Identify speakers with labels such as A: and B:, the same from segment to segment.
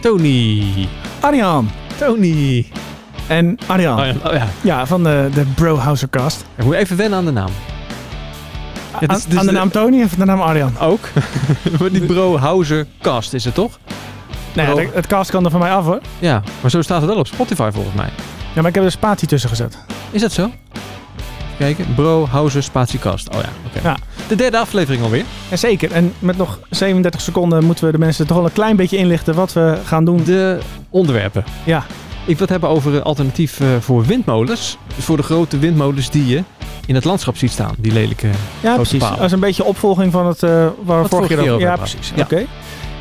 A: Tony.
B: Arjan.
A: Tony.
B: En Arjan.
A: Oh ja, oh ja.
B: Ja, van de, de Brohousercast.
A: Ik moet even wennen aan de naam. Ja, dit is-
B: Aan-
A: dit is
B: aan de naam Tony of de naam Arjan?
A: Ook. maar die Brohouser Cast is het toch?
B: Nee,
A: Bro.
B: het, het cast kan er van mij af hoor.
A: Ja, maar zo staat het wel op Spotify volgens mij.
B: Ja, maar ik heb er een spatie tussen gezet.
A: Is dat zo? Even Kijken. Brohouser Spatiecast. Oh ja, oké.
B: Ja.
A: De derde aflevering alweer.
B: Ja, zeker. En met nog 37 seconden moeten we de mensen toch wel een klein beetje inlichten wat we gaan doen.
A: De onderwerpen.
B: Ja.
A: Ik wil het hebben over een alternatief eh, voor windmolens. Dus voor de grote windmolens die je in het landschap ziet staan. Die lelijke
B: Ja,
A: Grote
B: precies.
A: palen.
B: Als een beetje opvolging van het eh, waar
A: vorige
B: we vorige
A: keer
B: keer over
A: over
B: Ja,
A: hebben we
B: precies.
A: gehad.
B: Oké.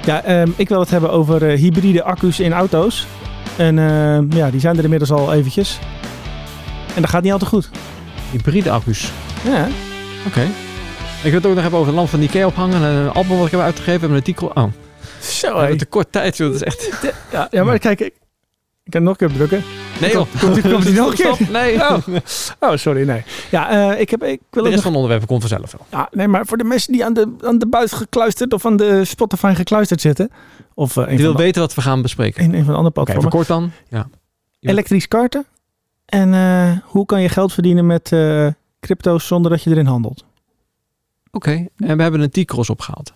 B: Ja, ehm, ik wil het hebben over eh, hybride accu's in auto's. En ehm, ja, die zijn er inmiddels al eventjes. En dat gaat niet altijd goed.
A: hybride accu's.
B: Ja.
A: Oké. Ik wil het ook nog hebben over een lamp van Ikea ophangen. En een album wat ik heb uitgegeven. En een artikel. Oh, we
B: Zo,
A: hebben te kort tijd. joh. Dat is echt...
B: Ja, ja, maar kijk, ik, ik kan nog een keer drukken.
A: Nee joh.
B: Komt die, komt die nog een keer?
A: Stop. Nee.
B: Oh, oh sorry, nee. Ja, eh, ik, heb, ik
A: De
B: wil ook
A: rest
B: nog...
A: van de onderwerpen komt vanzelf wel.
B: Ja, nee, maar voor de mensen die aan de, aan de buis gekluisterd of aan de Spotify gekluisterd zitten. Of eh, een,
A: Je
B: van
A: wil
B: de,
A: weten wat we gaan bespreken.
B: een, een van de andere
A: Oké,
B: platformen.
A: verkort dan. Ja. ja.
B: Elektrisch karten. En eh, hoe kan je geld verdienen met eh, crypto's zonder dat je erin handelt?
A: Oké, en we hebben een T-cross opgehaald.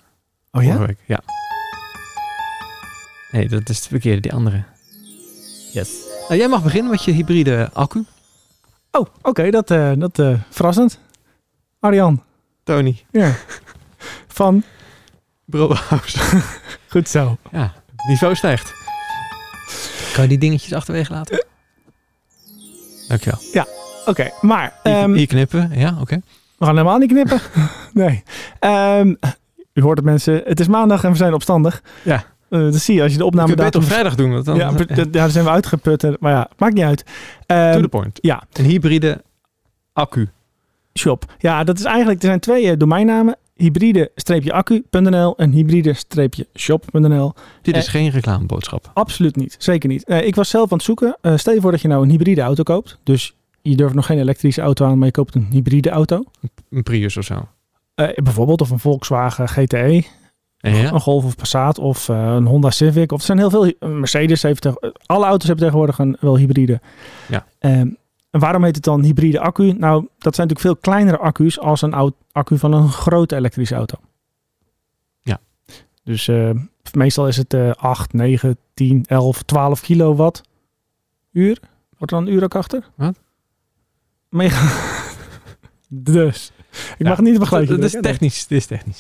B: Oh
A: vorige week. Ja. Nee, dat is de verkeerde, die andere. Yes. Nou, jij mag beginnen met je hybride accu.
B: Oh, oké, dat, eh dat eh, verrassend. Arjan.
A: Tony.
B: Ja. Van.
A: Brohouse.
B: Goed zo.
A: ja, het niveau stijgt. Kan je die dingetjes achterwege laten? Dankjewel.
B: Oké, maar
A: Hier-
B: ehm,
A: Hier knippen, ja, oké.
B: we gaan helemaal niet knippen. nee. Ehm, u hoort het mensen, het is maandag en we zijn opstandig.
A: Ja.
B: Eh, dat zie je als je de
A: Dan kun
B: opname
A: je beter op vrijdag doen. Want dan,
B: Ja, be- ja, daar zijn we uitgeput. en- Maar ja, maakt niet uit. Ehm,
A: to the point.
B: ja.
A: Een hybride accu.
B: shop. Ja, dat is eigenlijk, er zijn twee eh, domeinnamen. Hybride-accu.nl en hybride-shop.nl.
A: Dit is
B: Eh.
A: geen reclameboodschap.
B: Absoluut niet. Zeker niet. Eh, ik was zelf aan het zoeken. Eh, stel je voor dat je nou een hybride auto koopt. Dus je durft nog geen elektrische auto aan, maar je koopt een hybride auto.
A: Een Prius of zo.
B: Eh, bijvoorbeeld of een Volkswagen E. GTE,
A: Ja?
B: een Golf of Passat of eh, een Honda Civic. Of er zijn heel veel. eh, Mercedes heeft teg- eh, alle auto's hebben tegenwoordig een, wel hybride.
A: Ja.
B: Ehm, en waarom heet het dan hybride accu? Nou, dat zijn natuurlijk veel kleinere accu's als een oud- accu van een grote elektrische auto.
A: Ja.
B: Dus eh, meestal is het eh 8, 9, 10, 11, 12 kilowatt uur. Wordt er dan een uur ook achter?
A: Wat?
B: Mega. dus. Ik mag niet
A: Dat,
B: begrijpen.
A: dat is technisch. Dit is technisch.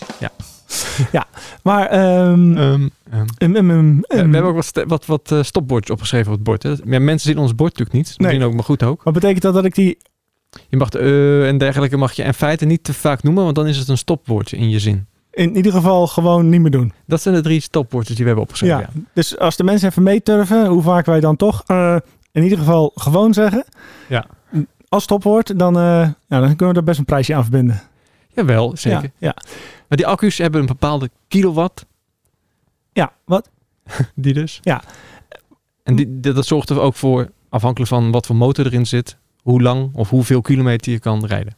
A: Ja.
B: Maar ehm,
A: Ehm, ehm.
B: Um, um, um,
A: Ja,
B: um.
A: we hebben ook wat, ste- wat, wat eh, stopbordjes opgeschreven op het bord. Hè. Ja, mensen zien ons bord natuurlijk niet.
B: Nee.
A: Misschien ook, maar goed ook.
B: Wat betekent dat dat ik die...
A: Je mag de eh en dergelijke mag je in feite niet te vaak noemen, want dan is het een stopwoordje in je zin.
B: In ieder geval gewoon niet meer doen.
A: Dat zijn de drie stopwoordjes die we hebben opgeschreven.
B: Ja.
A: Ja.
B: Dus als de mensen even meeturven, hoe vaak wij dan toch eh, in ieder geval gewoon zeggen.
A: Ja.
B: Als stopwoord, dan, eh, ja, dan kunnen we er best een prijsje aan verbinden.
A: Jawel, zeker.
B: Ja, ja.
A: Maar die accu's hebben een bepaalde kilowatt,
B: ja wat?
A: die dus.
B: Ja.
A: En die, dat, dat zorgt er ook voor, afhankelijk van wat voor motor erin zit, hoe lang of hoeveel kilometer je kan rijden.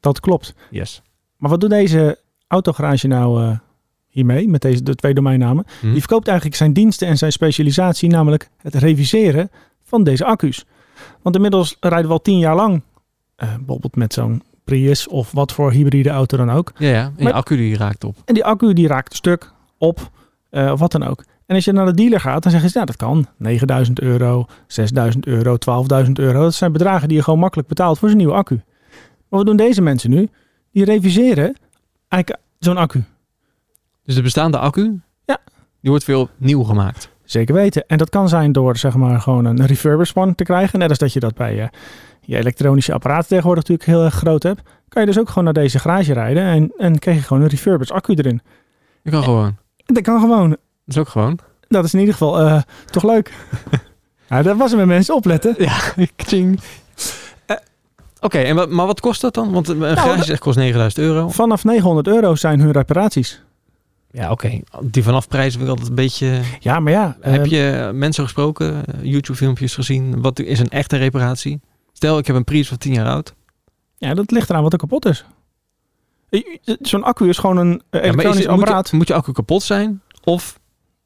B: Dat klopt.
A: Yes.
B: Maar wat doet deze autogarage nou eh, hiermee, met deze de twee domeinnamen?
A: Hm?
B: Die verkoopt eigenlijk zijn diensten en zijn specialisatie, namelijk het reviseren van deze accu's. Want inmiddels rijden we al tien jaar lang, eh, bijvoorbeeld met zo'n Prius of wat voor hybride auto dan ook.
A: Ja, ja. En je
B: Maar-
A: accu die raakt op.
B: En die accu die raakt stuk op, eh, of wat dan ook. En als je naar de dealer gaat, dan zeggen ze, nou dat kan. 9000 euro, 6000 euro, 12.000 euro. Dat zijn bedragen die je gewoon makkelijk betaalt voor zo'n nieuwe accu. Maar wat doen deze mensen nu? Die reviseren eigenlijk zo'n accu.
A: Dus de bestaande accu,
B: Ja.
A: die wordt veel nieuw gemaakt.
B: Zeker weten. En dat kan zijn door zeg maar gewoon een refurbished van te krijgen. Net als dat je dat bij eh, je elektronische apparaten tegenwoordig natuurlijk heel erg groot hebt. Kan je dus ook gewoon naar deze garage rijden en, en krijg je gewoon een refurbished accu erin.
A: Je kan gewoon.
B: Dat kan gewoon.
A: Dat is ook gewoon.
B: Dat is in ieder geval eh, toch leuk. ja, dat was hem met mensen opletten.
A: Kting. Eh, Oké, en wat- maar wat kost dat dan? Want eh, een
B: Nou,
A: garage echt kost 9000 euro.
B: Vanaf 900 euro zijn hun reparaties.
A: Ja, oké. Die vanaf prijzen wil ik altijd een beetje...
B: Ja, maar ja.
A: Heb
B: eh,
A: je mensen gesproken, eh, YouTube-filmpjes gezien? Wat is een echte reparatie? Stel, ik heb een Prius van 10 jaar oud.
B: ja, dat ligt eraan wat er kapot is. Eh, Zo'n accu is gewoon een
A: Ja, maar
B: eh,
A: is
B: elektronisch
A: het- moet,
B: apparaat.
A: je, moet je accu kapot zijn? Of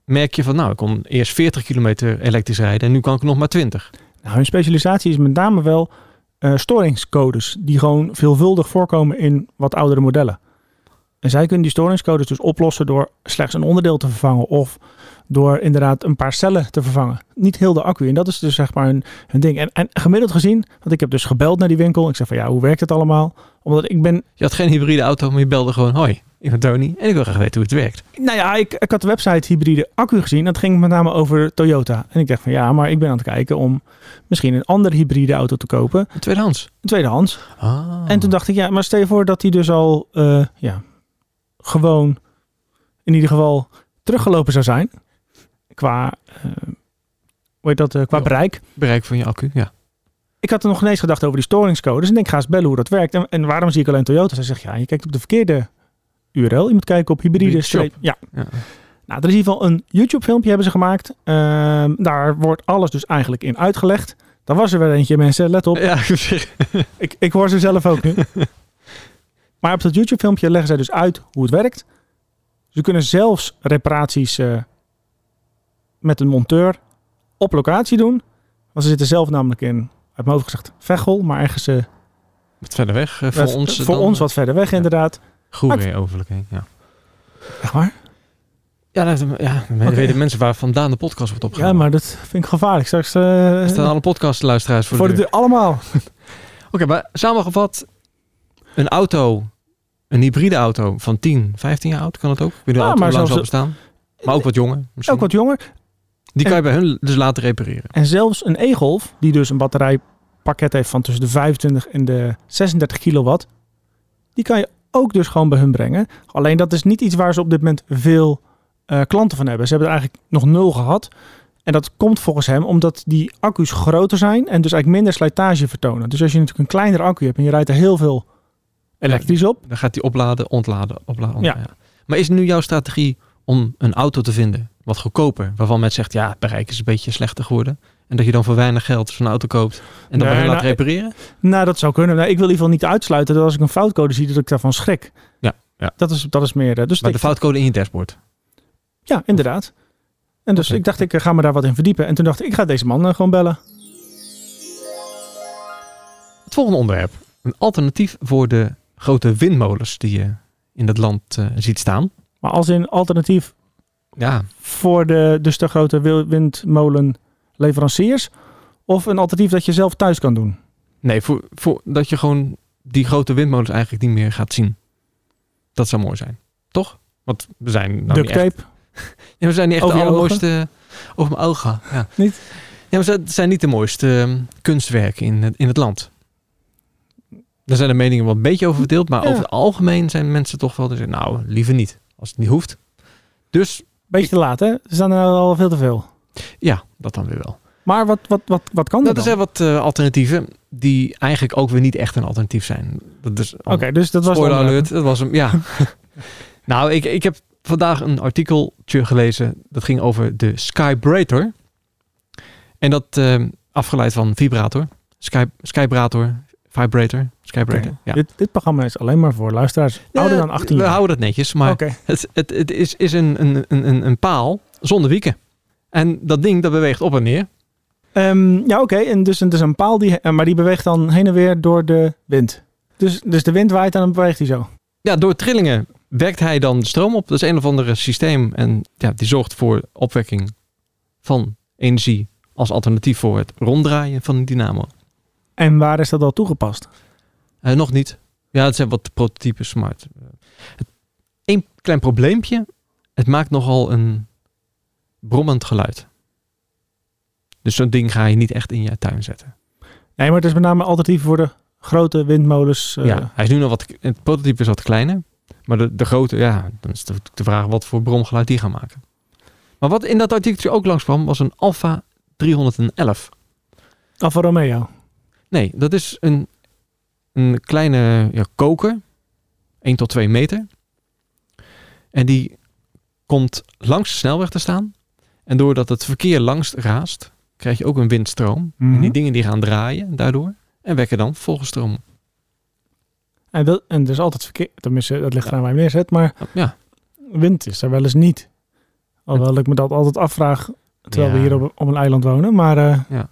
A: merk je van nou, ik kon eerst 40 kilometer elektrisch rijden en nu kan ik nog maar 20.
B: Nou, hun specialisatie is met name wel eh, storingscodes, die gewoon veelvuldig voorkomen in wat oudere modellen. En zij kunnen die storingscodes dus oplossen door slechts een onderdeel te vervangen of door inderdaad een paar cellen te vervangen. Niet heel de accu. En dat is dus zeg maar hun, hun ding. En, en gemiddeld gezien, want ik heb dus gebeld naar die winkel. Ik zeg van ja, hoe werkt het allemaal? Omdat ik ben,
A: Je had geen hybride auto, maar je belde gewoon hoi, ik ben Tony en ik wil graag weten hoe het werkt.
B: nou ja, ik, ik had de website hybride accu gezien. Dat ging met name over Toyota. En ik dacht van ja, maar ik ben aan het kijken om misschien een andere hybride auto te kopen.
A: Tweedehands.
B: Een tweedehands.
A: Ah.
B: En toen dacht ik, ja, maar stel je voor dat hij dus al eh, ja, gewoon in ieder geval teruggelopen zou zijn. Qua, eh, hoe heet dat, eh, qua
A: Ja.
B: bereik.
A: Bereik van je accu, ja.
B: Ik had er nog ineens gedacht over die storingscodes. En ik ga eens bellen hoe dat werkt. En, en waarom zie ik alleen Toyota? Zij zegt, ja, je kijkt op de verkeerde URL. Je moet kijken op hybride.
A: Hybride shop.
B: streep- Ja,
A: ja.
B: nou, er is in ieder geval een YouTube-filmpje hebben ze gemaakt. Ehm, daar wordt alles dus eigenlijk in uitgelegd. Daar was er weer eentje, mensen. Let op.
A: Ja, ik moet zeggen,
B: Ik, ik hoor ze zelf ook nu. maar op dat YouTube-filmpje leggen zij dus uit hoe het werkt. Ze kunnen zelfs reparaties eh, met een monteur op locatie doen. Want ze zitten zelf namelijk in, uit mijn hoofd gezegd, Veghel. Maar ergens eh,
A: wat verder weg eh, voor
B: eh,
A: ons.
B: voor
A: dan,
B: ons
A: eh,
B: wat verder weg inderdaad.
A: Goeree overlijk heen, ja.
B: Echt waar?
A: Ja, dat, ja dan
B: Oké.
A: weten mensen waar vandaan de podcast wordt
B: Ja,
A: opgenomen.
B: maar dat vind ik gevaarlijk. Straks eh,
A: Er staan alle podcastluisteraars voor,
B: voor de
A: de deur.
B: deur allemaal.
A: Oké, maar samengevat, een auto, een hybride auto van 10, 15 jaar oud, kan dat ook? Ik weet niet
B: Ja,
A: hoe
B: maar
A: maar lang ze al
B: zelfs-
A: bestaan. Maar ook wat jonger misschien.
B: Ook wat jonger.
A: Die kan je bij hun dus laten repareren.
B: En zelfs een E-Golf, die dus een batterijpakket heeft van tussen de 25 en de 36 kilowatt, die kan je ook dus gewoon bij hun brengen. Alleen dat is niet iets waar ze op dit moment veel eh, klanten van hebben. Ze hebben er eigenlijk nog nul gehad. En dat komt volgens hem omdat die accu's groter zijn en dus eigenlijk minder slijtage vertonen. Dus als je natuurlijk een kleinere accu hebt en je rijdt er heel veel elektrisch op,
A: Dan gaat die opladen, ontladen, opladen,
B: Ja.
A: ontladen. Ja. Maar is nu jouw strategie om een auto te vinden wat goedkoper, waarvan men zegt, ja, het bereik is een beetje slechter geworden. En dat je dan voor weinig geld zo'n auto koopt en dan
B: Nee,
A: bij hun
B: nou,
A: laat repareren?
B: Nou, dat zou kunnen. Nou, ik wil in ieder geval niet uitsluiten dat als ik een foutcode zie, dat ik daarvan schrik.
A: Ja, ja.
B: Dat, is, dat is meer. eh, Dus
A: Maar
B: ik-
A: de foutcode in je dashboard.
B: Ja, inderdaad. En dus
A: Oké.
B: ik dacht, ik eh, ga me daar wat in verdiepen. En toen dacht ik, ik ga deze man eh, gewoon bellen.
A: Het volgende onderwerp. Een alternatief voor de grote windmolens die je in dat land eh, ziet staan.
B: Maar als in alternatief
A: Ja,
B: voor de, dus de grote wil- windmolenleveranciers. Of een alternatief dat je zelf thuis kan
A: Nou,
B: doen.
A: Nee, voor, voor dat je gewoon die grote windmolens eigenlijk niet meer gaat zien. Dat zou mooi zijn, toch? Want we zijn nou
B: Duct
A: niet echt,
B: tape.
A: Ja, we zijn niet echt
B: Over
A: de
B: je
A: allermooiste eh, over mijn ogen. Ja.
B: Niet?
A: Ja, maar ze zijn niet de mooiste ehm, kunstwerken in het, in het land. Daar zijn de meningen wel een beetje over verdeeld, maar
B: Ja.
A: over het algemeen zijn mensen toch wel te zeggen, nou, liever niet, als het niet hoeft. Dus
B: Beetje te laat, hè? Ze staan er al veel te veel.
A: ja, dat dan weer wel.
B: Maar wat, wat, wat, wat kan
A: Nou, er
B: dat dan?
A: zijn wat eh, alternatieven die eigenlijk ook weer niet echt een alternatief zijn. Dat is
B: Oké, dus dat was...
A: Spoiler
B: dan, eh,
A: alert, dat was hem, ja. nou, ik, ik heb vandaag een artikeltje gelezen. Dat ging over de Skybrator. En dat eh, afgeleid van vibrator. Sky, Skybrator, vibrator, Skybrator.
B: oké.
A: Ja.
B: Dit, dit programma is alleen maar voor luisteraars ouder dan 18
A: We
B: jaar.
A: houden dat netjes, maar
B: Oké.
A: het, het, het is, is een, een, een, een- een paal zonder wieken. En dat ding dat beweegt op en neer.
B: Ehm, ja, oké. En dus het is een paal, die, eh, maar die beweegt dan heen en weer door de wind. Dus, dus de wind waait en dan beweegt hij zo.
A: Ja, door trillingen wekt hij dan stroom op. Dat is een of andere systeem. En ja, die zorgt voor opwekking van energie als alternatief voor het ronddraaien van een dynamo.
B: En waar is dat al toegepast?
A: Eh, nog niet. Ja, het zijn wat prototypes, maar het, eh, het- één klein probleempje. Het maakt nogal een brommend geluid. Dus zo'n ding ga je niet echt in je tuin zetten.
B: Nee, maar het is met name alternatief voor de grote windmolens. eh,
A: ja, hij is nu nog wat, het prototype is wat kleiner. Maar de, de grote, ja, dan is natuurlijk de vraag wat voor bromgeluid die gaan maken. Maar wat in dat artikeltje ook langskwam, was een Alfa 311.
B: Alfa Romeo.
A: Nee, dat is een, een kleine ja, koker, 1 tot 2 meter. En die komt langs de snelweg te staan. En doordat het verkeer langs raast, krijg je ook een windstroom. En die
B: Mhm.
A: dingen die gaan draaien daardoor en wekken dan volgens stroom.
B: En, dat, en
A: Oh,
B: er is altijd verkeer. Tenminste, dat ligt eraan waar je hem neerzet. Maar
A: Ja,
B: wind is er wel eens niet. Alhoewel ik me dat altijd afvraag, terwijl we
A: Ja.
B: hier op, op een eiland wonen. Maar eh,
A: Ja.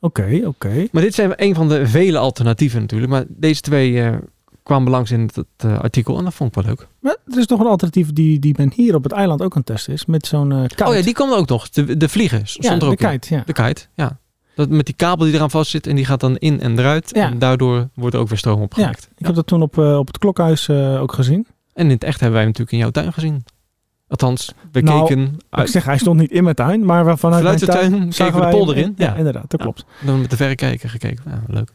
B: oké, oké.
A: Maar dit zijn een van de vele alternatieven natuurlijk. Maar deze twee eh, kwamen langs in het eh, artikel en dat vond ik wel leuk.
B: Maar er is nog een alternatief die, die men hier op het eiland ook aan het testen is. Met zo'n eh kite.
A: Oh ja, die kwam er ook nog. De, de vliegen stond
B: Ja,
A: er
B: de
A: ook in.
B: kite, ja.
A: De kite, ja. Dat met die kabel die eraan vastzit en die gaat dan in en eruit.
B: Ja.
A: En daardoor wordt er ook weer stroom opgemaakt.
B: Ik heb dat toen op, eh, op het klokhuis eh, ook gezien.
A: En in het echt hebben wij hem natuurlijk in jouw tuin gezien. Althans, we
B: Nou,
A: keken
B: Ik
A: uit,
B: zeg, hij stond niet in mijn tuin, maar vanuit mijn
A: Ah, vanuit de
B: tuin
A: tuin, keken
B: zagen
A: we de
B: wij
A: polder
B: hem.
A: in.
B: Ja,
A: Ja.
B: inderdaad, dat
A: Ja.
B: klopt.
A: Dan met de verrekijker gekeken. Ja, leuk.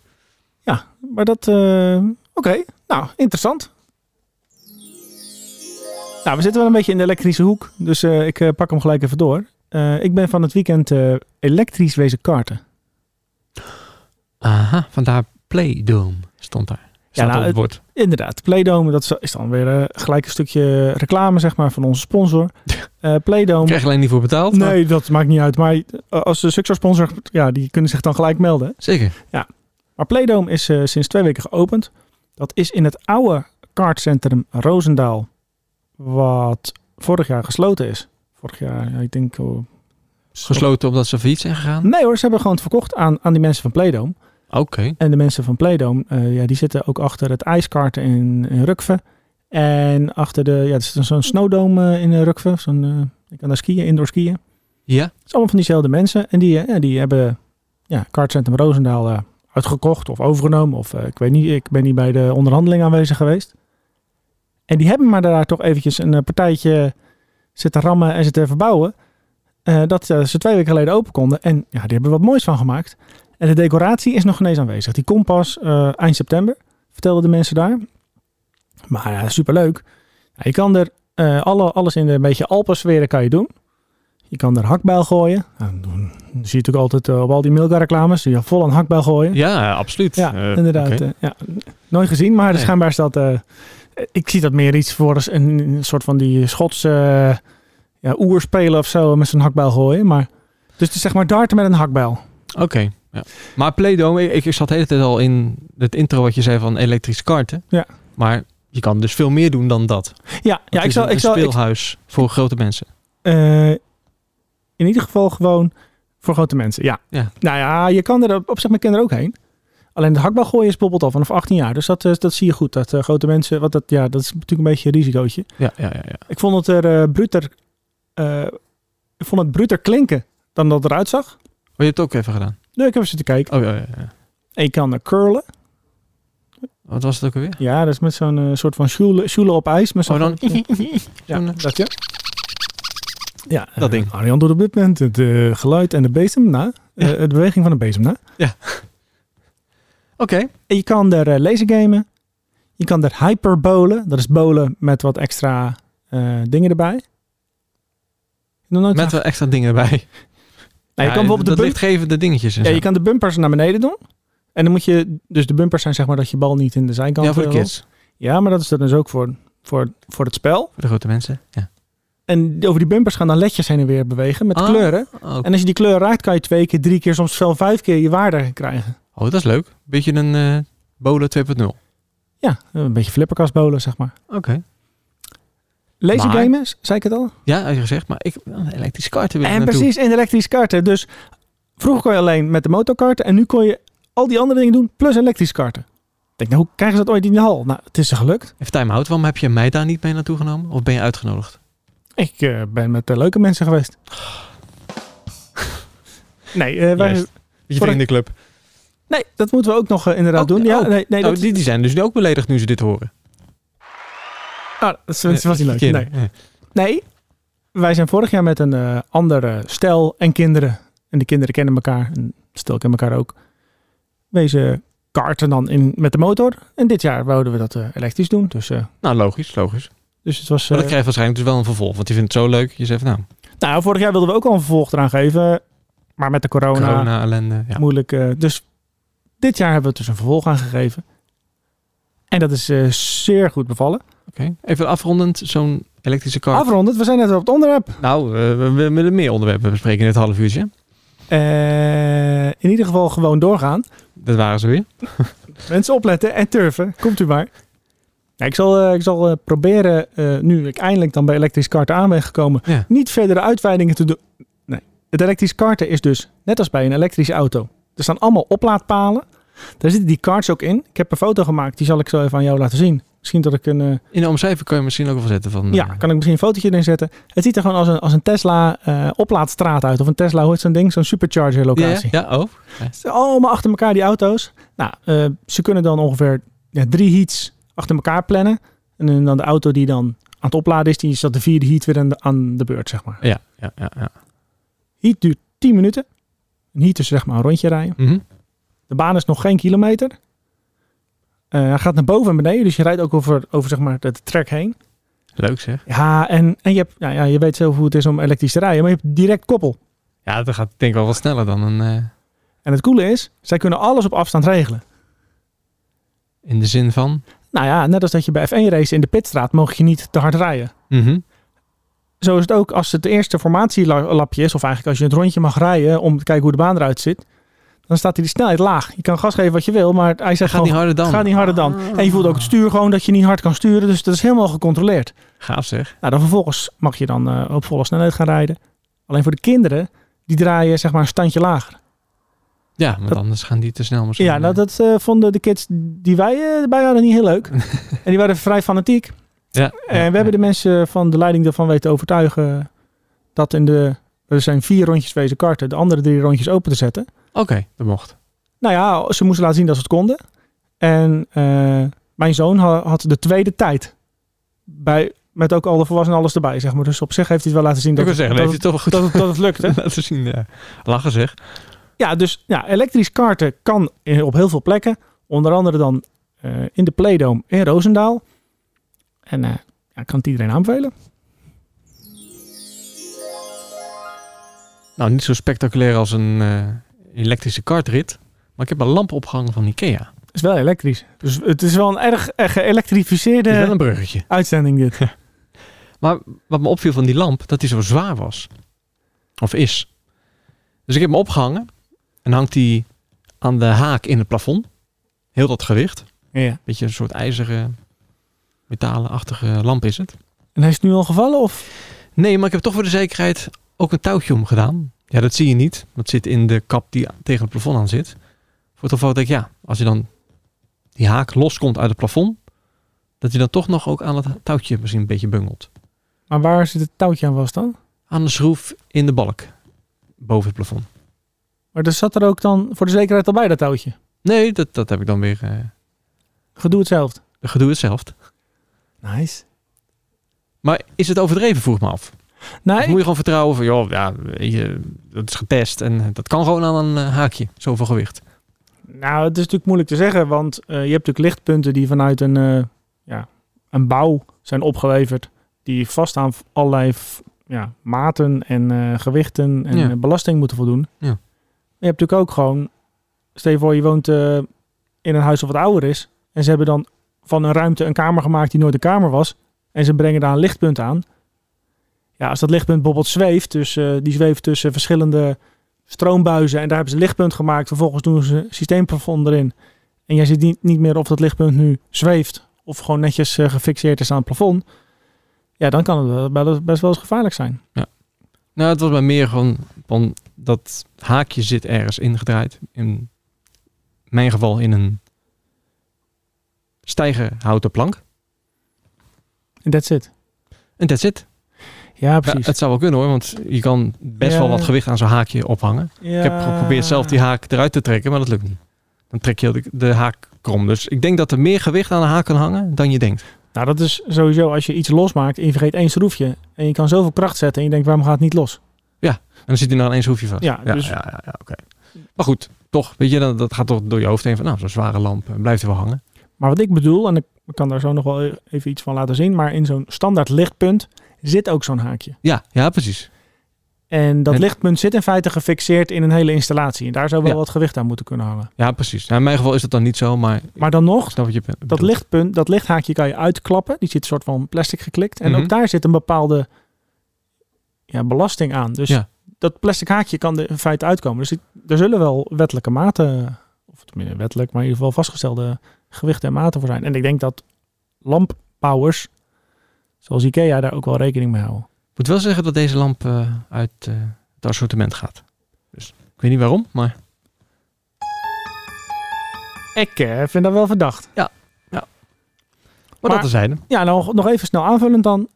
B: Maar dat, eh, oké. Nou, interessant. Nou, we zitten wel een beetje in de elektrische hoek, dus eh, ik eh, pak hem gelijk even door. Eh, ik ben van het weekend eh, elektrisch wezen karten.
A: Aha, vandaar Playdome stond daar. Staat
B: nou,
A: op het bord.
B: Inderdaad, Playdome, dat is- is dan weer eh, gelijk een stukje reclame, zeg maar, van onze sponsor. Eh
A: Ik
B: Playdome.
A: krijg je alleen niet voor betaald. maar-
B: Nee, dat maakt niet uit. Maar eh, als de Success sponsor, ja, die kunnen zich dan gelijk melden.
A: Zeker.
B: Maar Playdome is eh, sinds twee weken geopend. Dat is in het oude kaartcentrum Roosendaal. Wat vorig jaar gesloten is. Vorig jaar, ja, ik denk... oh,
A: Gesloten omdat ze failliet zijn gegaan.
B: Nee hoor, ze hebben gewoon het verkocht aan, aan die mensen van Playdome.
A: Oké.
B: En de mensen van Playdome, eh, ja, die zitten ook achter het ijskarten in, in Rukve. En achter de, ja, er zit zo'n snowdome eh, in Rukve. Zo'n, eh, ik kan daar skiën, indoor skiën.
A: Ja.
B: Het is allemaal van diezelfde mensen. En die, eh, ja, die hebben ja, Kartcentrum Roosendaal eh, uitgekocht of overgenomen. Of eh, ik weet niet, ik ben niet bij de onderhandeling aanwezig geweest. En die hebben maar daar toch eventjes een eh, partijtje zitten rammen en zitten verbouwen. Eh, dat eh, ze twee weken geleden open konden. En ja, die hebben wat moois van gemaakt. En de decoratie is nog ineens aanwezig. Die komt pas eh, eind september, vertelden de mensen daar. Maar ja, superleuk. Ja, je kan er eh, alle, alles in de een beetje Alpensferen kan je doen. Je kan er hakbijl gooien. Nou, dan doen- dan zie je natuurlijk altijd eh, op al die Milka reclames. Je vol aan hakbijl gooien.
A: Ja, absoluut.
B: Ja,
A: Eh,
B: inderdaad.
A: oké.
B: eh, ja. Nooit gezien, maar
A: Nee.
B: schijnbaar is dat... eh, ik zie dat meer iets voor als een, een soort van die Schotse eh, ja, oerspelen of zo. Met zo'n hakbijl gooien. Maar, dus het is zeg maar darten met een hakbijl.
A: Oké. Ja. Maar Playdome, ik, ik zat de hele tijd al in het intro wat je zei van elektrisch karten.
B: Ja.
A: Maar je kan dus veel meer doen dan dat.
B: Ja, ja
A: Het
B: ik
A: is
B: zal...
A: een,
B: Ik
A: een
B: zal ik,
A: speelhuis voor grote mensen.
B: eh, in ieder geval gewoon voor grote mensen, ja.
A: Ja.
B: Nou ja, je kan er op- op zich met kinderen ook heen. Alleen de hakbal gooien is bijvoorbeeld al vanaf 18 jaar. Dus dat, eh, dat zie je goed. Dat eh, grote mensen, wat dat, ja, dat is natuurlijk een beetje een risicootje.
A: Ja, ja, ja. ja.
B: Ik vond het er eh, bruter. eh, ik vond het bruter klinken dan dat het eruit zag.
A: Oh, je hebt het ook even gedaan.
B: Nee, ik heb eens zitten kijken.
A: Oh, ja, ja, ja.
B: En je kan er curlen.
A: Wat was het ook alweer?
B: Ja, dat is met zo'n eh, soort van sjoelen sjoelen op ijs. Met zo'n
A: Oh, dan...
B: Ja,
A: zo'n, eh,
B: dat ja. Ja,
A: Dat ding.
B: eh, Arjan doet op dit moment het eh, geluid en de bezem na. Eh, de beweging van de bezem na.
A: Oké.
B: En je kan er eh, lasergamen. Je kan er hyperbolen. Dat is bolen met wat extra eh, dingen erbij. Ik heb nog nooit
A: Met wel extra dingen erbij.
B: Nou, je kan bijvoorbeeld de
A: dat
B: bump-
A: lichtgevende dingetjes en
B: Ja,
A: zo.
B: je kan de bumpers naar beneden doen. En dan moet je, dus de bumpers zijn zeg maar dat je bal niet in de zijkant
A: Ja, voor de
B: wil.
A: kids.
B: Ja, maar dat is er dus ook voor, voor, voor het spel.
A: Voor de grote mensen. Ja.
B: En over die bumpers gaan dan ledjes heen en weer bewegen met
A: Ah.
B: kleuren.
A: Oh,
B: En als je die kleur raakt, kan je twee keer, drie keer, soms wel vijf keer je waarde krijgen.
A: oh, dat is leuk. Beetje een eh bolen 2.0. Oké.
B: Ja, een beetje flipperkastbolen, zeg maar. Lasergamen, zei ik het al?
A: Ja, had je gezegd, maar ik een elektrische karten wil ik
B: En
A: naartoe.
B: precies, in elektrische karten. Dus vroeger kon je alleen met de motorkarten en nu kon je al die andere dingen doen, plus elektrische karten. Ik denk, nou, hoe krijgen ze dat ooit in de hal? Nou, het is ze gelukt.
A: Even time-out, waarom heb je mij daar niet mee naartoe genomen? Of ben je uitgenodigd?
B: Ik eh, ben met eh, leuke mensen geweest. Nee, eh, wij-
A: Juist. Je
B: Voor-
A: vriendenclub.
B: nee, dat moeten we ook nog eh, inderdaad
A: Oh,
B: doen. Ja,
A: oh.
B: nee, nee,
A: Oh,
B: dat,
A: die, die zijn dus ook beledigd nu ze dit horen.
B: ah, dat is- dat was niet leuk.
A: Verkeerde.
B: Nee. nee, wij zijn vorig jaar met een eh andere stel en kinderen. En die kinderen kennen elkaar. En het stel kennen elkaar ook. Wezen karten dan in, met de motor. En dit jaar wouden we dat eh, elektrisch doen. Dus, eh,
A: Nou, logisch, logisch.
B: dus het was...
A: Maar dat
B: eh,
A: krijgt waarschijnlijk dus wel een vervolg. Want die vindt het zo leuk. Je zegt, nou,
B: nou, vorig jaar wilden we ook al een vervolg eraan geven. Maar met de corona
A: corona-ellende. Ja.
B: moeilijk. eh, dus dit jaar hebben we het dus een vervolg aan gegeven. En dat is eh, zeer goed bevallen.
A: Oké. Even afrondend, zo'n elektrische kar.
B: Afrondend, we zijn net weer op het onderwerp.
A: nou, eh, we we willen meer onderwerpen bespreken in dit half uurtje.
B: Eh, in ieder geval gewoon doorgaan.
A: Dat waren ze weer.
B: Mensen opletten en turven. Komt u maar. Ja, ik zal, eh, ik zal eh, proberen, eh, nu ik eindelijk dan bij elektrisch karten aan ben gekomen,
A: Ja.
B: niet verdere uitweidingen te doen. Nee. Het elektrisch karten is dus, net als bij een elektrische auto, er staan allemaal oplaadpalen. Daar zitten die karts ook in. Ik heb een foto gemaakt, die zal ik zo even aan jou laten zien. Misschien dat ik een... eh,
A: In de omschrijving kan je misschien ook wel zetten van...
B: ja,
A: eh,
B: kan ik misschien een fotootje erin zetten. Het ziet er gewoon als een, als een Tesla eh, oplaadstraat uit. Of een Tesla, hoe heet zo'n ding? Zo'n supercharger
A: ja,
B: locatie.
A: ja, ja, oh.
B: Het zijn allemaal achter elkaar die auto's. Nou, eh, ze kunnen dan ongeveer ja, drie heats achter elkaar plannen. En dan de auto die dan aan het opladen is, die is dat de vierde heat weer aan de, aan de beurt, zeg maar.
A: Ja, ja, ja. ja.
B: Heat duurt 10 minuten. Een heat is zeg maar een rondje rijden.
A: Mhm.
B: De baan is nog geen kilometer. Eh, hij gaat naar boven en beneden, dus je rijdt ook over, over zeg maar, de, de track heen.
A: Leuk zeg.
B: Ja, en, en je, hebt, nou ja, je weet zelf hoe het is om elektrisch te rijden, maar je hebt direct koppel.
A: Ja, dat gaat denk ik wel wat sneller dan een... eh,
B: En het coole is, zij kunnen alles op afstand regelen.
A: in de zin van...
B: Nou ja, net als dat je bij F1 race in de pitstraat mocht je niet te hard rijden.
A: Mhm.
B: zo is het ook als het eerste formatielapje is, of eigenlijk als je het rondje mag rijden om te kijken hoe de baan eruit zit, dan staat die snelheid laag. Je kan gas geven wat je wil, maar hij zegt
A: Gaat niet
B: gewoon,
A: harder dan.
B: ga niet harder dan.
A: Ah.
B: En je voelt ook het stuur gewoon dat je niet hard kan sturen, dus dat is helemaal gecontroleerd.
A: Gaaf zeg.
B: Nou, dan vervolgens mag je dan eh, op volle snelheid gaan rijden. Alleen voor de kinderen, die draaien zeg maar een standje lager.
A: Ja, want
B: Dat-
A: anders gaan die te snel misschien.
B: Ja, nou,
A: eh.
B: dat eh, vonden de kids die wij eh, erbij hadden niet heel leuk. en die waren vrij fanatiek.
A: Ja.
B: En we hebben de mensen van de leiding ervan weten overtuigen dat in de. Er zijn vier rondjes wezen karten, de andere drie rondjes open te zetten.
A: Oké, dat mocht.
B: Nou ja, ze moesten laten zien dat ze het konden. En eh, mijn zoon ha- had de tweede tijd. Bij, met ook al de volwassenen en alles erbij, zeg maar. Dus op zich heeft hij het wel laten zien
A: Ik
B: dat,
A: wil zeggen,
B: dat,
A: weet je toch wel goed
B: dat, het- dat het lukte.
A: laten zien. ja. Lachen zeg.
B: Ja, dus ja, elektrisch karten kan in- op heel veel plekken. Onder andere dan eh, in de Playdome in Roosendaal. En eh ja, ik kan het iedereen aanbevelen.
A: Nou, niet zo spectaculair als een eh, elektrische kartrit. Maar ik heb een lamp opgehangen van Ikea.
B: Het is wel elektrisch. Dus het is wel een erg eh, geëlektrificeerde
A: Dat is wel een bruggetje.
B: uitzending dit.
A: Maar wat me opviel van die lamp, dat die zo zwaar was. Of is. Dus ik heb hem opgehangen. En hangt die aan de haak in het plafond. Heel dat gewicht.
B: ja.
A: Beetje een soort ijzeren, metalenachtige lamp is het.
B: En hij is nu al gevallen of?
A: Nee, maar ik heb toch voor de zekerheid ook een touwtje omgedaan. Ja, dat zie je niet. Dat zit in de kap die tegen het plafond aan zit. Voor het geval dat ik, ja, als je dan die haak loskomt uit het plafond, dat hij dan toch nog ook aan het touwtje misschien een beetje bungelt.
B: Maar waar zit het touwtje aan vast dan?
A: Aan de schroef in de balk, boven het plafond.
B: Maar er zat er ook dan voor de zekerheid al bij dat touwtje.
A: Nee, dat, dat heb ik dan weer eh,
B: Gedoe hetzelfde.
A: de gedoe hetzelfde.
B: Nice.
A: Maar is het overdreven, vroeg me af. Of
B: Nee,
A: moet je gewoon vertrouwen van, joh, ja, weet je, dat is getest en dat kan gewoon aan een eh, haakje, zoveel gewicht.
B: Nou, het is natuurlijk moeilijk te zeggen, want eh, je hebt natuurlijk lichtpunten die vanuit een, eh, ja, een bouw zijn opgeleverd. Die vast aan allerlei f- ja, maten en eh, gewichten en
A: Ja.
B: eh, belasting moeten voldoen.
A: Ja.
B: Maar je hebt natuurlijk ook gewoon, stel je voor je woont eh, in een huis dat wat ouder is. En ze hebben dan van een ruimte een kamer gemaakt die nooit een kamer was. En ze brengen daar een lichtpunt aan. Ja, als dat lichtpunt bijvoorbeeld zweeft, dus eh, die zweeft tussen verschillende stroombuizen en daar hebben ze een lichtpunt gemaakt. Vervolgens doen ze een systeemplafond erin. En jij ziet niet, niet meer of dat lichtpunt nu zweeft of gewoon netjes eh, gefixeerd is aan het plafond. Ja, dan kan het wel- wel- best wel eens gevaarlijk zijn.
A: Nou, het was bij meer gewoon van dat haakje zit ergens ingedraaid. In mijn geval in een stijgerhouten plank.
B: En that's it.
A: En that's it.
B: Ja,
A: Ja,
B: precies.
A: het zou wel kunnen hoor, want je kan best
B: Ja.
A: wel wat gewicht aan zo'n haakje ophangen.
B: Ja.
A: Ik heb geprobeerd zelf die haak eruit te trekken, maar dat lukt niet. Dan trek je de, de haak krom. Dus ik denk dat er meer gewicht aan de haak kan hangen dan je denkt.
B: Nou, dat is sowieso als je iets losmaakt en je vergeet één schroefje. En je kan zoveel kracht zetten en je denkt, waarom gaat het niet los?
A: En dan zit hij nou ineens hoefje vast.
B: Ja, dus-
A: ja, ja, ja, oké. Maar goed, toch, weet je, dat, dat gaat toch door je hoofd heen van, nou, zo'n zware lamp eh, blijft er wel hangen.
B: Maar wat ik bedoel, en ik kan daar zo nog wel e-, even iets van laten zien. Maar in zo'n standaard lichtpunt zit ook zo'n haakje.
A: Ja, ja, precies.
B: En dat
A: En-
B: lichtpunt zit in feite gefixeerd in een hele installatie. En daar zou wel
A: Ja.
B: wat gewicht aan moeten kunnen hangen.
A: Ja, precies. Nou, in mijn geval is dat dan niet zo, maar ik
B: Maar dan nog,
A: snap wat je be-
B: dat
A: bedoelt.
B: lichtpunt, dat lichthaakje kan je uitklappen. Die zit soort van plastic geklikt. En
A: Mhm.
B: ook daar zit een bepaalde ja, belasting aan. Dus
A: Ja.
B: dat plastic haakje kan er in feite uitkomen. Dus ik- er zullen wel wettelijke maten, of tenminste wettelijk, maar in ieder geval vastgestelde gewichten en maten voor zijn. En ik denk dat lampbouwers, zoals IKEA, daar ook wel rekening mee houden.
A: Ik moet wel zeggen dat deze lamp eh, uit eh, het assortiment gaat. Dus ik weet niet waarom, maar
B: Ik eh, vind dat wel verdacht.
A: maar,
B: Maar-
A: dat terzijde.
B: Ja, nou nog even snel aanvullend dan.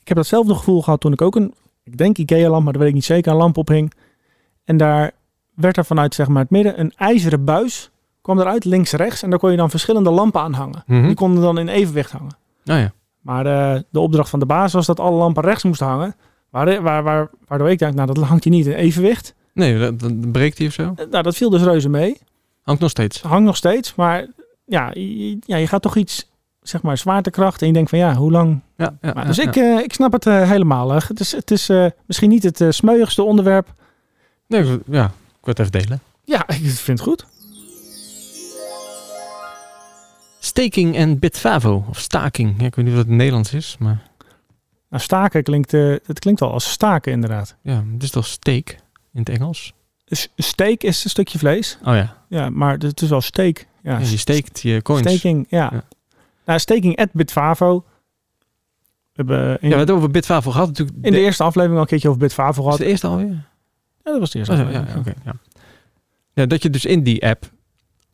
B: Ik heb datzelfde gevoel gehad toen ik ook een, ik denk IKEA-lamp, maar dat weet ik niet zeker, een lamp ophing. En daar werd er vanuit zeg maar, het midden een ijzeren buis, kwam eruit links-rechts. En daar kon je dan verschillende lampen aan hangen.
A: Mhm.
B: Die konden dan in evenwicht hangen.
A: Nou ja.
B: Maar eh, de opdracht van de baas was dat alle lampen rechts moesten hangen. Waar, waar, waar, waardoor ik denk, nou dat hangt hier niet in evenwicht.
A: Nee, dat, dat breekt hij of zo.
B: Eh, Nou, dat viel dus reuze mee.
A: Hangt nog steeds.
B: Het hangt nog steeds, maar ja, je, ja, je gaat toch iets, zeg maar, zwaartekracht. En je denkt van ja, hoe lang
A: Ja, ja,
B: Maar,
A: ja,
B: dus
A: ja.
B: ik, eh, ik snap het eh, helemaal. eh. Het is, het is eh, misschien niet het eh, smeuigste onderwerp.
A: Nee, ik- ja, ik wil het even delen.
B: Ja, ik vind het goed.
A: Staking en Bitfavo. Of staking. Ja, ik weet niet of dat in het Nederlands is, maar
B: Nou, staken klinkt, eh, het klinkt wel als staken inderdaad.
A: ja, het is toch steak in het Engels?
B: S- Steak is een stukje vlees.
A: Oh ja,
B: Ja, maar het is wel steak. Ja,
A: Ja, je steekt je coins.
B: Staking, ja.
A: Ja.
B: Nou, staking at Bitfavo. We hebben in,
A: Ja, we hebben het over Bitfavo gehad natuurlijk.
B: in de eerste aflevering al een keertje over Bitfavo
A: is
B: gehad.
A: de eerste alweer?
B: Ja, dat was de eerste
A: Oh, ja, ja,
B: aflevering.
A: oké, ja. Ja, dat je dus in die app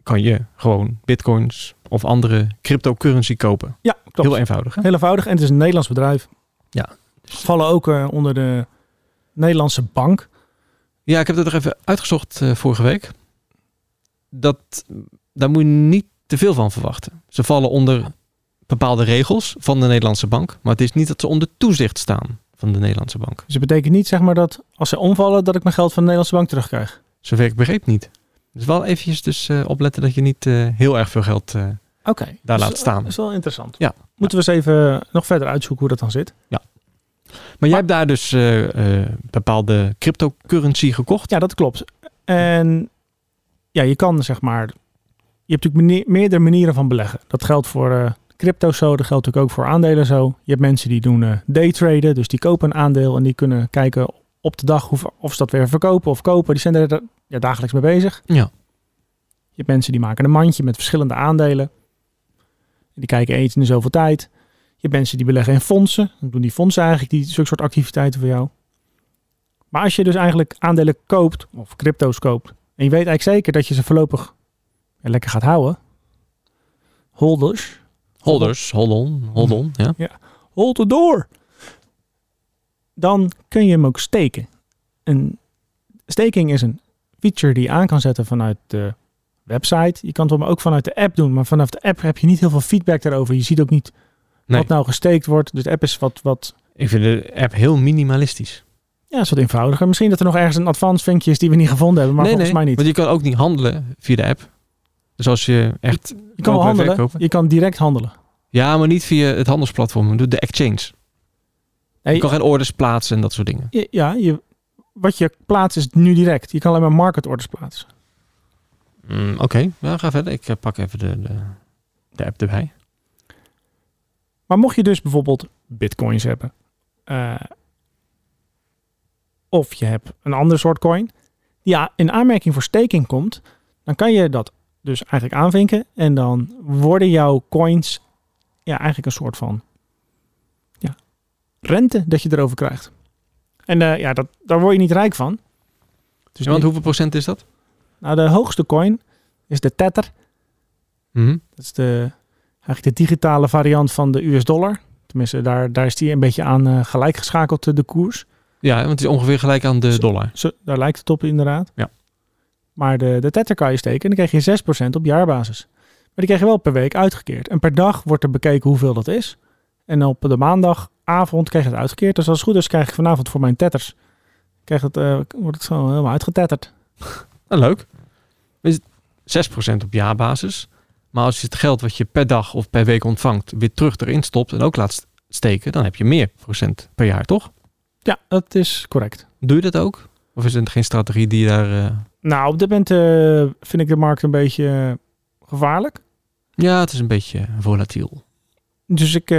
A: kan je gewoon bitcoins of andere cryptocurrency kopen.
B: Ja, klopt.
A: Heel eenvoudig. Hè?
B: Heel eenvoudig. En het is een Nederlands bedrijf.
A: Ja.
B: Vallen ook eh, onder de Nederlandse bank.
A: Ja, ik heb dat er even uitgezocht eh, vorige week. Dat, daar moet je niet te veel van verwachten. Ze vallen onder bepaalde regels van de Nederlandse bank. Maar het is niet dat ze onder toezicht staan van de Nederlandse bank.
B: Dus het betekent niet zeg maar dat als ze omvallen dat ik mijn geld van de Nederlandse bank terugkrijg.
A: Zover ik begreep niet. Dus wel eventjes dus, eh, opletten dat je niet eh, heel erg veel geld... eh,
B: Oké.
A: Daar
B: Dat is-
A: laat staan.
B: Dat is wel interessant.
A: Ja.
B: Moeten we eens even nog verder uitzoeken hoe dat dan zit.
A: Maar jij hebt daar dus eh, eh, bepaalde cryptocurrency gekocht.
B: Ja, dat klopt. En ja, je kan zeg maar... Je hebt natuurlijk manie- meerdere manieren van beleggen. Dat geldt voor eh, crypto zo, dat geldt natuurlijk ook voor aandelen zo. Je hebt mensen die doen eh daytraden, dus die kopen een aandeel... en die kunnen kijken op de dag hoe, of ze dat weer verkopen of kopen. Die zijn er da- ja, dagelijks mee bezig.
A: Ja.
B: Je hebt mensen die maken een mandje met verschillende aandelen. Die kijken eens in de zoveel tijd. Je hebt mensen die beleggen in fondsen. Dan doen die fondsen eigenlijk die, zulke soort activiteiten voor jou. Maar als je dus eigenlijk aandelen koopt, of crypto's koopt, en je weet eigenlijk zeker dat je ze voorlopig ja, lekker gaat houden. Holders.
A: Holders, hold on, hold on. Ja.
B: Hold the door. Dan kun je hem ook steken. Een staking is een feature die je aan kan zetten vanuit de website. Je kan het wel ook vanuit de app doen, maar vanaf de app heb je niet heel veel feedback daarover. Je ziet ook niet
A: Nee.
B: wat nou gesteekt wordt. Dus de app is wat, wat
A: Ik vind de app heel minimalistisch.
B: Ja, dat is wat eenvoudiger. Misschien dat er nog ergens een advanced vinkje is die we niet gevonden hebben, maar
A: nee,
B: volgens
A: nee,
B: mij niet.
A: Want je kan ook niet handelen via de app. Dus als je echt...
B: Je kan wel
A: kopen en
B: handelen.
A: verkopen.
B: Je kan direct handelen.
A: Ja, maar niet via het handelsplatform. Doe de exchange.
B: Nee,
A: Je kan geen orders plaatsen en dat soort dingen.
B: je- ja, je, wat je plaatst is nu direct. Je kan alleen maar market orders plaatsen.
A: Mm, Oké, ja, ga verder. Ik eh, pak even de, de, de app erbij.
B: Maar mocht je dus bijvoorbeeld bitcoins hebben, eh, of je hebt een ander soort coin die a- in aanmerking voor staking komt, dan kan je dat dus eigenlijk aanvinken en dan worden jouw coins ja, eigenlijk een soort van ja, rente dat je erover krijgt. En eh, ja, dat, daar word je niet rijk van. Dus
A: Ja, want hoeveel procent is dat?
B: nou, de hoogste coin is de Tether.
A: Mhm.
B: Dat is de, eigenlijk de digitale variant van de US-dollar. Tenminste, daar, daar is die een beetje aan eh, gelijk geschakeld, eh, de koers.
A: Ja, want het is ongeveer gelijk aan de dollar.
B: Zo, daar lijkt het op inderdaad.
A: Ja.
B: Maar de, de tether kan je steken en dan krijg je 6% op jaarbasis. Maar die krijg je wel per week uitgekeerd. En per dag wordt er bekeken hoeveel dat is. En op de maandagavond krijg je het uitgekeerd. Dus als het goed is krijg ik vanavond voor mijn tetters. Krijg het, eh, wordt het zo helemaal uitgetetterd.
A: Nou, leuk. Is het 6% op jaarbasis. Maar als je het geld wat je per dag of per week ontvangt weer terug erin stopt en ook laat st- steken, dan heb je meer procent per jaar, toch?
B: Ja, dat is correct.
A: Doe je dat ook? Of is het geen strategie die je daar. eh,
B: Nou, op dit moment eh, vind ik de markt een beetje eh, gevaarlijk.
A: Ja, het is een beetje volatiel.
B: Dus ik eh,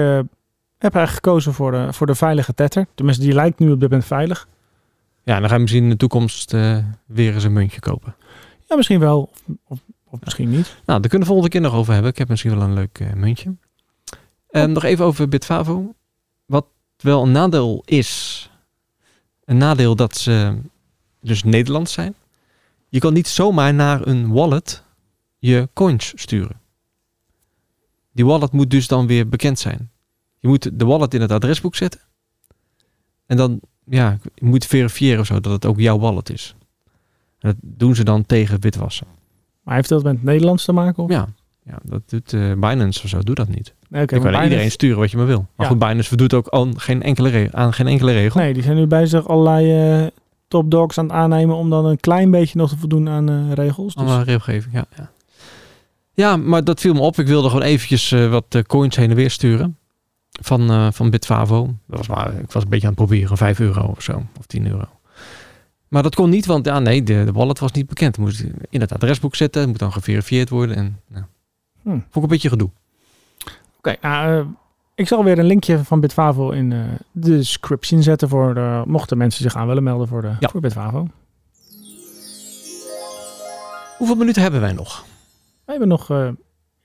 B: heb eigenlijk gekozen voor de, voor de veilige tetter. Tenminste, die lijkt nu op dit moment veilig.
A: Ja, dan ga je misschien in de toekomst eh, weer eens een muntje kopen.
B: Ja, misschien wel. Of, of, of misschien niet.
A: Nou, daar kunnen we volgende keer nog over hebben. Ik heb misschien wel een leuk eh, muntje. Eh, Ehm, nog even over Bitfavo. Wat wel een nadeel is. Een nadeel dat ze dus Nederlands zijn. Je kan niet zomaar naar een wallet je coins sturen. Die wallet moet dus dan weer bekend zijn. Je moet de wallet in het adresboek zetten. En dan ja, je moet verifiëren of zo dat het ook jouw wallet is. En dat doen ze dan tegen witwassen.
B: Maar heeft dat met het Nederlands te maken? Of?
A: Ja, ja dat doet eh, Binance of zo. Doet dat niet.
B: Nee, oké,
A: Je kan
B: maar
A: aan iedereen
B: Binance-
A: sturen wat je maar wil. Maar
B: Ja.
A: goed, Binance voldoet ook aan geen enkele, re- aan geen enkele regel.
B: Nee, die zijn nu bezig allerlei eh, topdogs aan het aannemen om dan een klein beetje nog te voldoen aan eh, regels. Dus,
A: Alle regelgeving, ja, ja. Ja, maar dat viel me op. Ik wilde gewoon eventjes eh, wat eh, coins heen en weer sturen. Van, eh van Bitfavo. Dat was maar, ik was een beetje aan het proberen. 5 euro of zo. Of 10 euro. Maar dat kon niet, want ja, nee, de, de wallet was niet bekend. Moest in het adresboek zetten. Het moet dan geverifieerd worden. En, nou,
B: Hmm.
A: Vond ik een beetje gedoe.
B: Oké, nou, eh, ik zal weer een linkje van Bitfavo in eh, de description zetten voor de, mochten mensen zich aan willen melden voor, de,
A: Ja.
B: voor Bitfavo.
A: Hoeveel minuten hebben wij nog?
B: We hebben nog eh,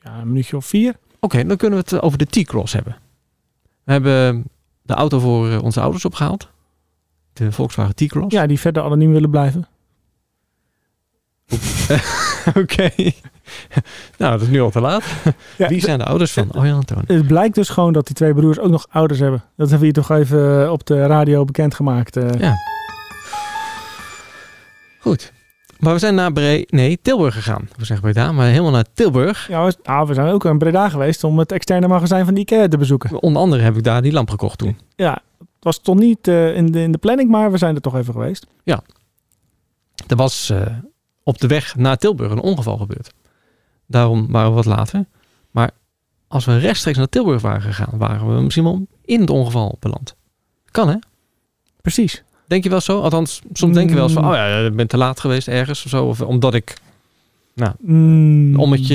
B: ja, een minuutje of vier.
A: Oké, dan kunnen we het eh, over de T-Cross hebben. We hebben de auto voor eh, onze ouders opgehaald. De Volkswagen T-Cross.
B: Ja, die verder anoniem willen blijven.
A: Oké. nou, dat is nu al te laat.
B: Ja,
A: Wie zijn de ouders van Arjan Antoon?
B: Het blijkt dus gewoon dat die twee broers ook nog ouders hebben. Dat hebben we hier toch even eh, op de radio bekendgemaakt. eh.
A: Ja. Goed. Maar we zijn naar Bre nee, Tilburg gegaan. We zeggen Breda, maar helemaal naar Tilburg.
B: Ja, we, ah, we zijn ook in Breda geweest om het externe magazijn van de IKEA te bezoeken.
A: Onder andere heb ik daar die lamp gekocht toen.
B: Ja, het was toch niet eh, in, de, in de planning, maar we zijn er toch even geweest.
A: Er was eh, op de weg naar Tilburg een ongeval gebeurd. Daarom waren we wat later. Maar als we rechtstreeks naar Tilburg waren gegaan, waren we misschien wel in het ongeval beland. Kan hè?
B: Precies.
A: Denk je wel zo? Althans, soms denk je wel eens van,
B: Mm.
A: oh ja, ik ben te laat geweest ergens of zo. Of omdat ik
B: Mm.
A: een ommetje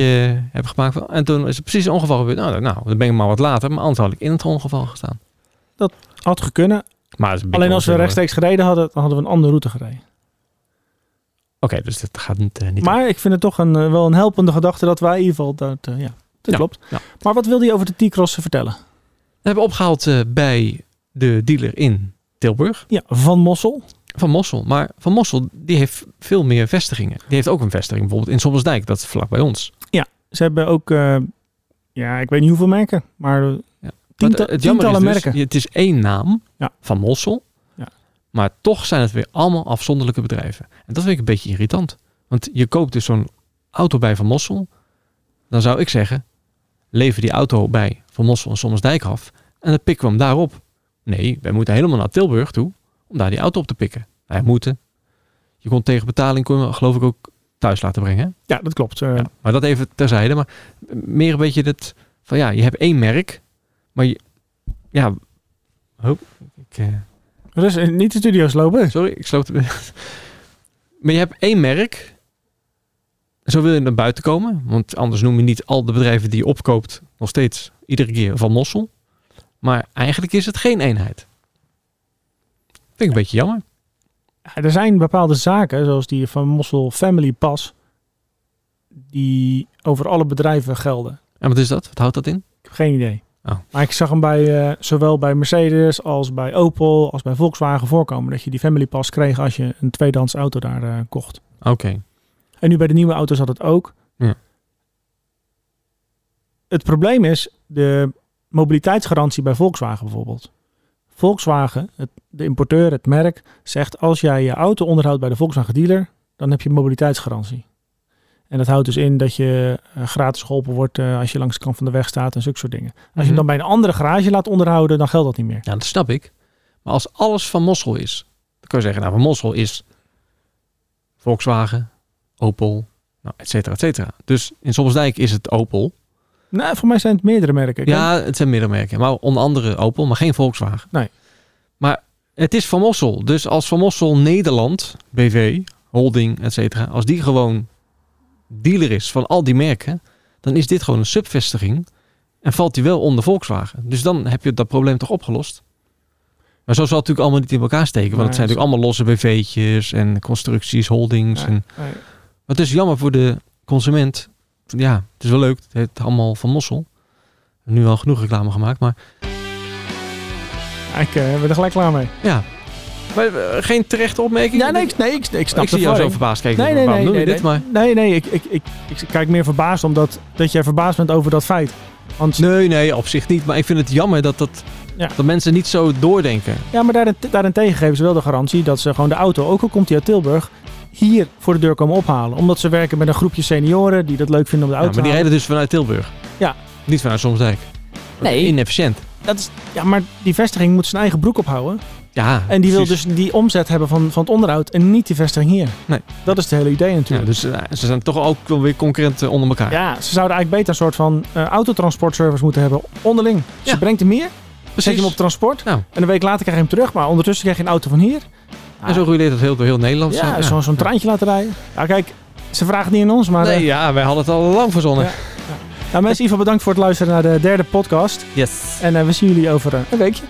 A: heb gemaakt. En toen is er precies een ongeval gebeurd. Nou, nou, dan ben ik maar wat later. Maar anders had ik in het ongeval gestaan.
B: Had gekunnen.
A: Maar dat is een beetje
B: Alleen als we
A: onzin,
B: rechtstreeks gereden hadden, dan hadden we een andere route gereden.
A: hoor. Oké, dus dat gaat niet. eh, niet
B: Maar ik vind het toch een, eh, wel een helpende gedachte dat wij in ieder geval... Dat, eh, ja, dat
A: Ja,
B: klopt.
A: ja.
B: Maar wat wilde je over de T-Cross vertellen?
A: We hebben opgehaald eh, bij de dealer in Tilburg.
B: Ja, Van Mossel.
A: Van Mossel. Maar Van Mossel die heeft veel meer vestigingen. Die heeft ook een vestiging bijvoorbeeld in Sommelsdijk. Dat is vlak bij ons.
B: Ze hebben ook, eh, ja, ik weet niet hoeveel merken, maar eh,
A: Maar
B: tienta-
A: jammer
B: tientallen
A: is dus,
B: merken.
A: Het is één naam
B: Ja.
A: van Mossel.
B: Ja.
A: Maar toch zijn het weer allemaal afzonderlijke bedrijven. En dat vind ik een beetje irritant. Want je koopt dus zo'n auto bij Van Mossel. Dan zou ik zeggen, lever die auto bij Van Mossel en Sommersdijk af. En dan pikken we hem daarop. Nee, wij moeten helemaal naar Tilburg toe om daar die auto op te pikken. Wij moeten. Je kon tegen betaling, kon je hem, geloof ik, ook thuis laten brengen. hè?
B: Ja, dat klopt. eh,
A: Ja, maar dat even terzijde. Maar meer een beetje dat van ja, je hebt één merk, maar je, ja. Hoop, ik, eh,
B: Dus eh, niet de studio's lopen.
A: sorry, ik sloot. maar je hebt één merk. Zo wil je naar buiten komen, want anders noem je niet al de bedrijven die je opkoopt nog steeds iedere keer van Mossel. Maar eigenlijk is het geen eenheid. Vind ik een beetje jammer.
B: Ja, er zijn bepaalde zaken, zoals die Van Mossel Family Pass, die over alle bedrijven gelden.
A: En wat is dat? Wat houdt dat in?
B: Ik heb geen idee.
A: Oh.
B: Maar ik zag hem bij, eh, zowel bij Mercedes als bij Opel als bij Volkswagen voorkomen. Dat je die Family Pass kreeg als je een tweedehands auto daar eh, kocht.
A: Oké.
B: En nu bij de nieuwe auto's had het ook.
A: Ja.
B: Het probleem is de mobiliteitsgarantie bij Volkswagen bijvoorbeeld. Volkswagen, het, de importeur, het merk, zegt als jij je auto onderhoudt bij de Volkswagen dealer, dan heb je mobiliteitsgarantie. En dat houdt dus in dat je eh, gratis geholpen wordt eh, als je langs de kant van de weg staat en zulke soort dingen. Als
A: Mhm.
B: je hem dan bij een andere garage laat onderhouden, dan geldt dat niet meer.
A: Ja, Nou, dat snap ik. Maar als alles van Mossel is, dan kun je zeggen, nou, van Mossel is Volkswagen, Opel, nou, et cetera, et cetera. Dus in Sommelsdijk is het Opel.
B: Nou, voor mij zijn het meerdere merken. Ik
A: Ja, het zijn middenmerken, maar onder andere Opel, maar geen Volkswagen.
B: Nee.
A: Maar het is van Mossel. Dus als van Mossel Nederland, BV, holding, et cetera, als die gewoon dealer is van al die merken, dan is dit gewoon een subvestiging en valt die wel onder Volkswagen. Dus dan heb je dat probleem toch opgelost. Maar zo zal het natuurlijk allemaal niet in elkaar steken, want
B: Nee,
A: het zijn
B: dat
A: natuurlijk allemaal losse BV'tjes en constructies, holdings.
B: Nee.
A: En...
B: Nee.
A: Maar het is jammer voor de consument. Ja, het is wel leuk. Het heet allemaal van Mossel. Nu al genoeg reclame gemaakt, maar
B: Ik eh, ben er gelijk klaar mee.
A: ja. Maar, eh, geen terechte opmerking?
B: Ja, nee, ik, nee, ik, ik snap
A: ik zie
B: de
A: jou zo
B: verwarring.
A: verbaasd kijken.
B: Nee, nee,
A: Waarom
B: nee.
A: doe
B: nee,
A: je
B: nee,
A: dit? Maar
B: nee, nee, ik, ik, ik, ik kijk meer verbaasd omdat dat jij verbaasd bent over dat feit. Want,
A: Nee, nee, op zich niet. Maar ik vind het jammer dat, dat,
B: Ja.
A: dat mensen niet zo doordenken.
B: Ja, maar daarent- daarentegen geven ze wel de garantie dat ze gewoon de auto, ook al komt die uit Tilburg, hier voor de deur komen ophalen. Omdat ze werken met een groepje senioren die dat leuk vinden om de
A: Ja,
B: auto
A: maar die
B: te halen.
A: rijden dus vanuit Tilburg.
B: Ja.
A: Niet vanuit Somsdijk.
B: Nee.
A: Inefficiënt.
B: Dat is, ja, maar die vestiging moet zijn eigen broek ophouden.
A: Ja,
B: En die wil
A: precies.
B: dus die omzet hebben van, van het onderhoud en niet die vestiging hier.
A: Nee.
B: Dat is het hele idee
A: Ja,
B: natuurlijk.
A: dus eh, ze zijn toch ook wel weer concurrenten onder elkaar.
B: Ja, ze zouden eigenlijk beter een soort van eh, autotransportservice moeten hebben onderling. Dus
A: Ja.
B: je brengt hem hier, zet je hem op transport
A: Nou.
B: en een week later krijg je hem terug. Maar ondertussen krijg je een auto van hier.
A: En zo roeileert dat heel, door heel Nederland.
B: ja,
A: Zo,
B: zo'n zo'n treintje laten rijden. Nou kijk, ze vragen het niet aan ons, maar... eh,
A: Nee, ja, wij hadden het al lang verzonnen.
B: Ja. Nou mensen, in ieder geval bedankt voor het luisteren naar de derde podcast.
A: Yes.
B: En eh, we zien jullie over eh, een weekje.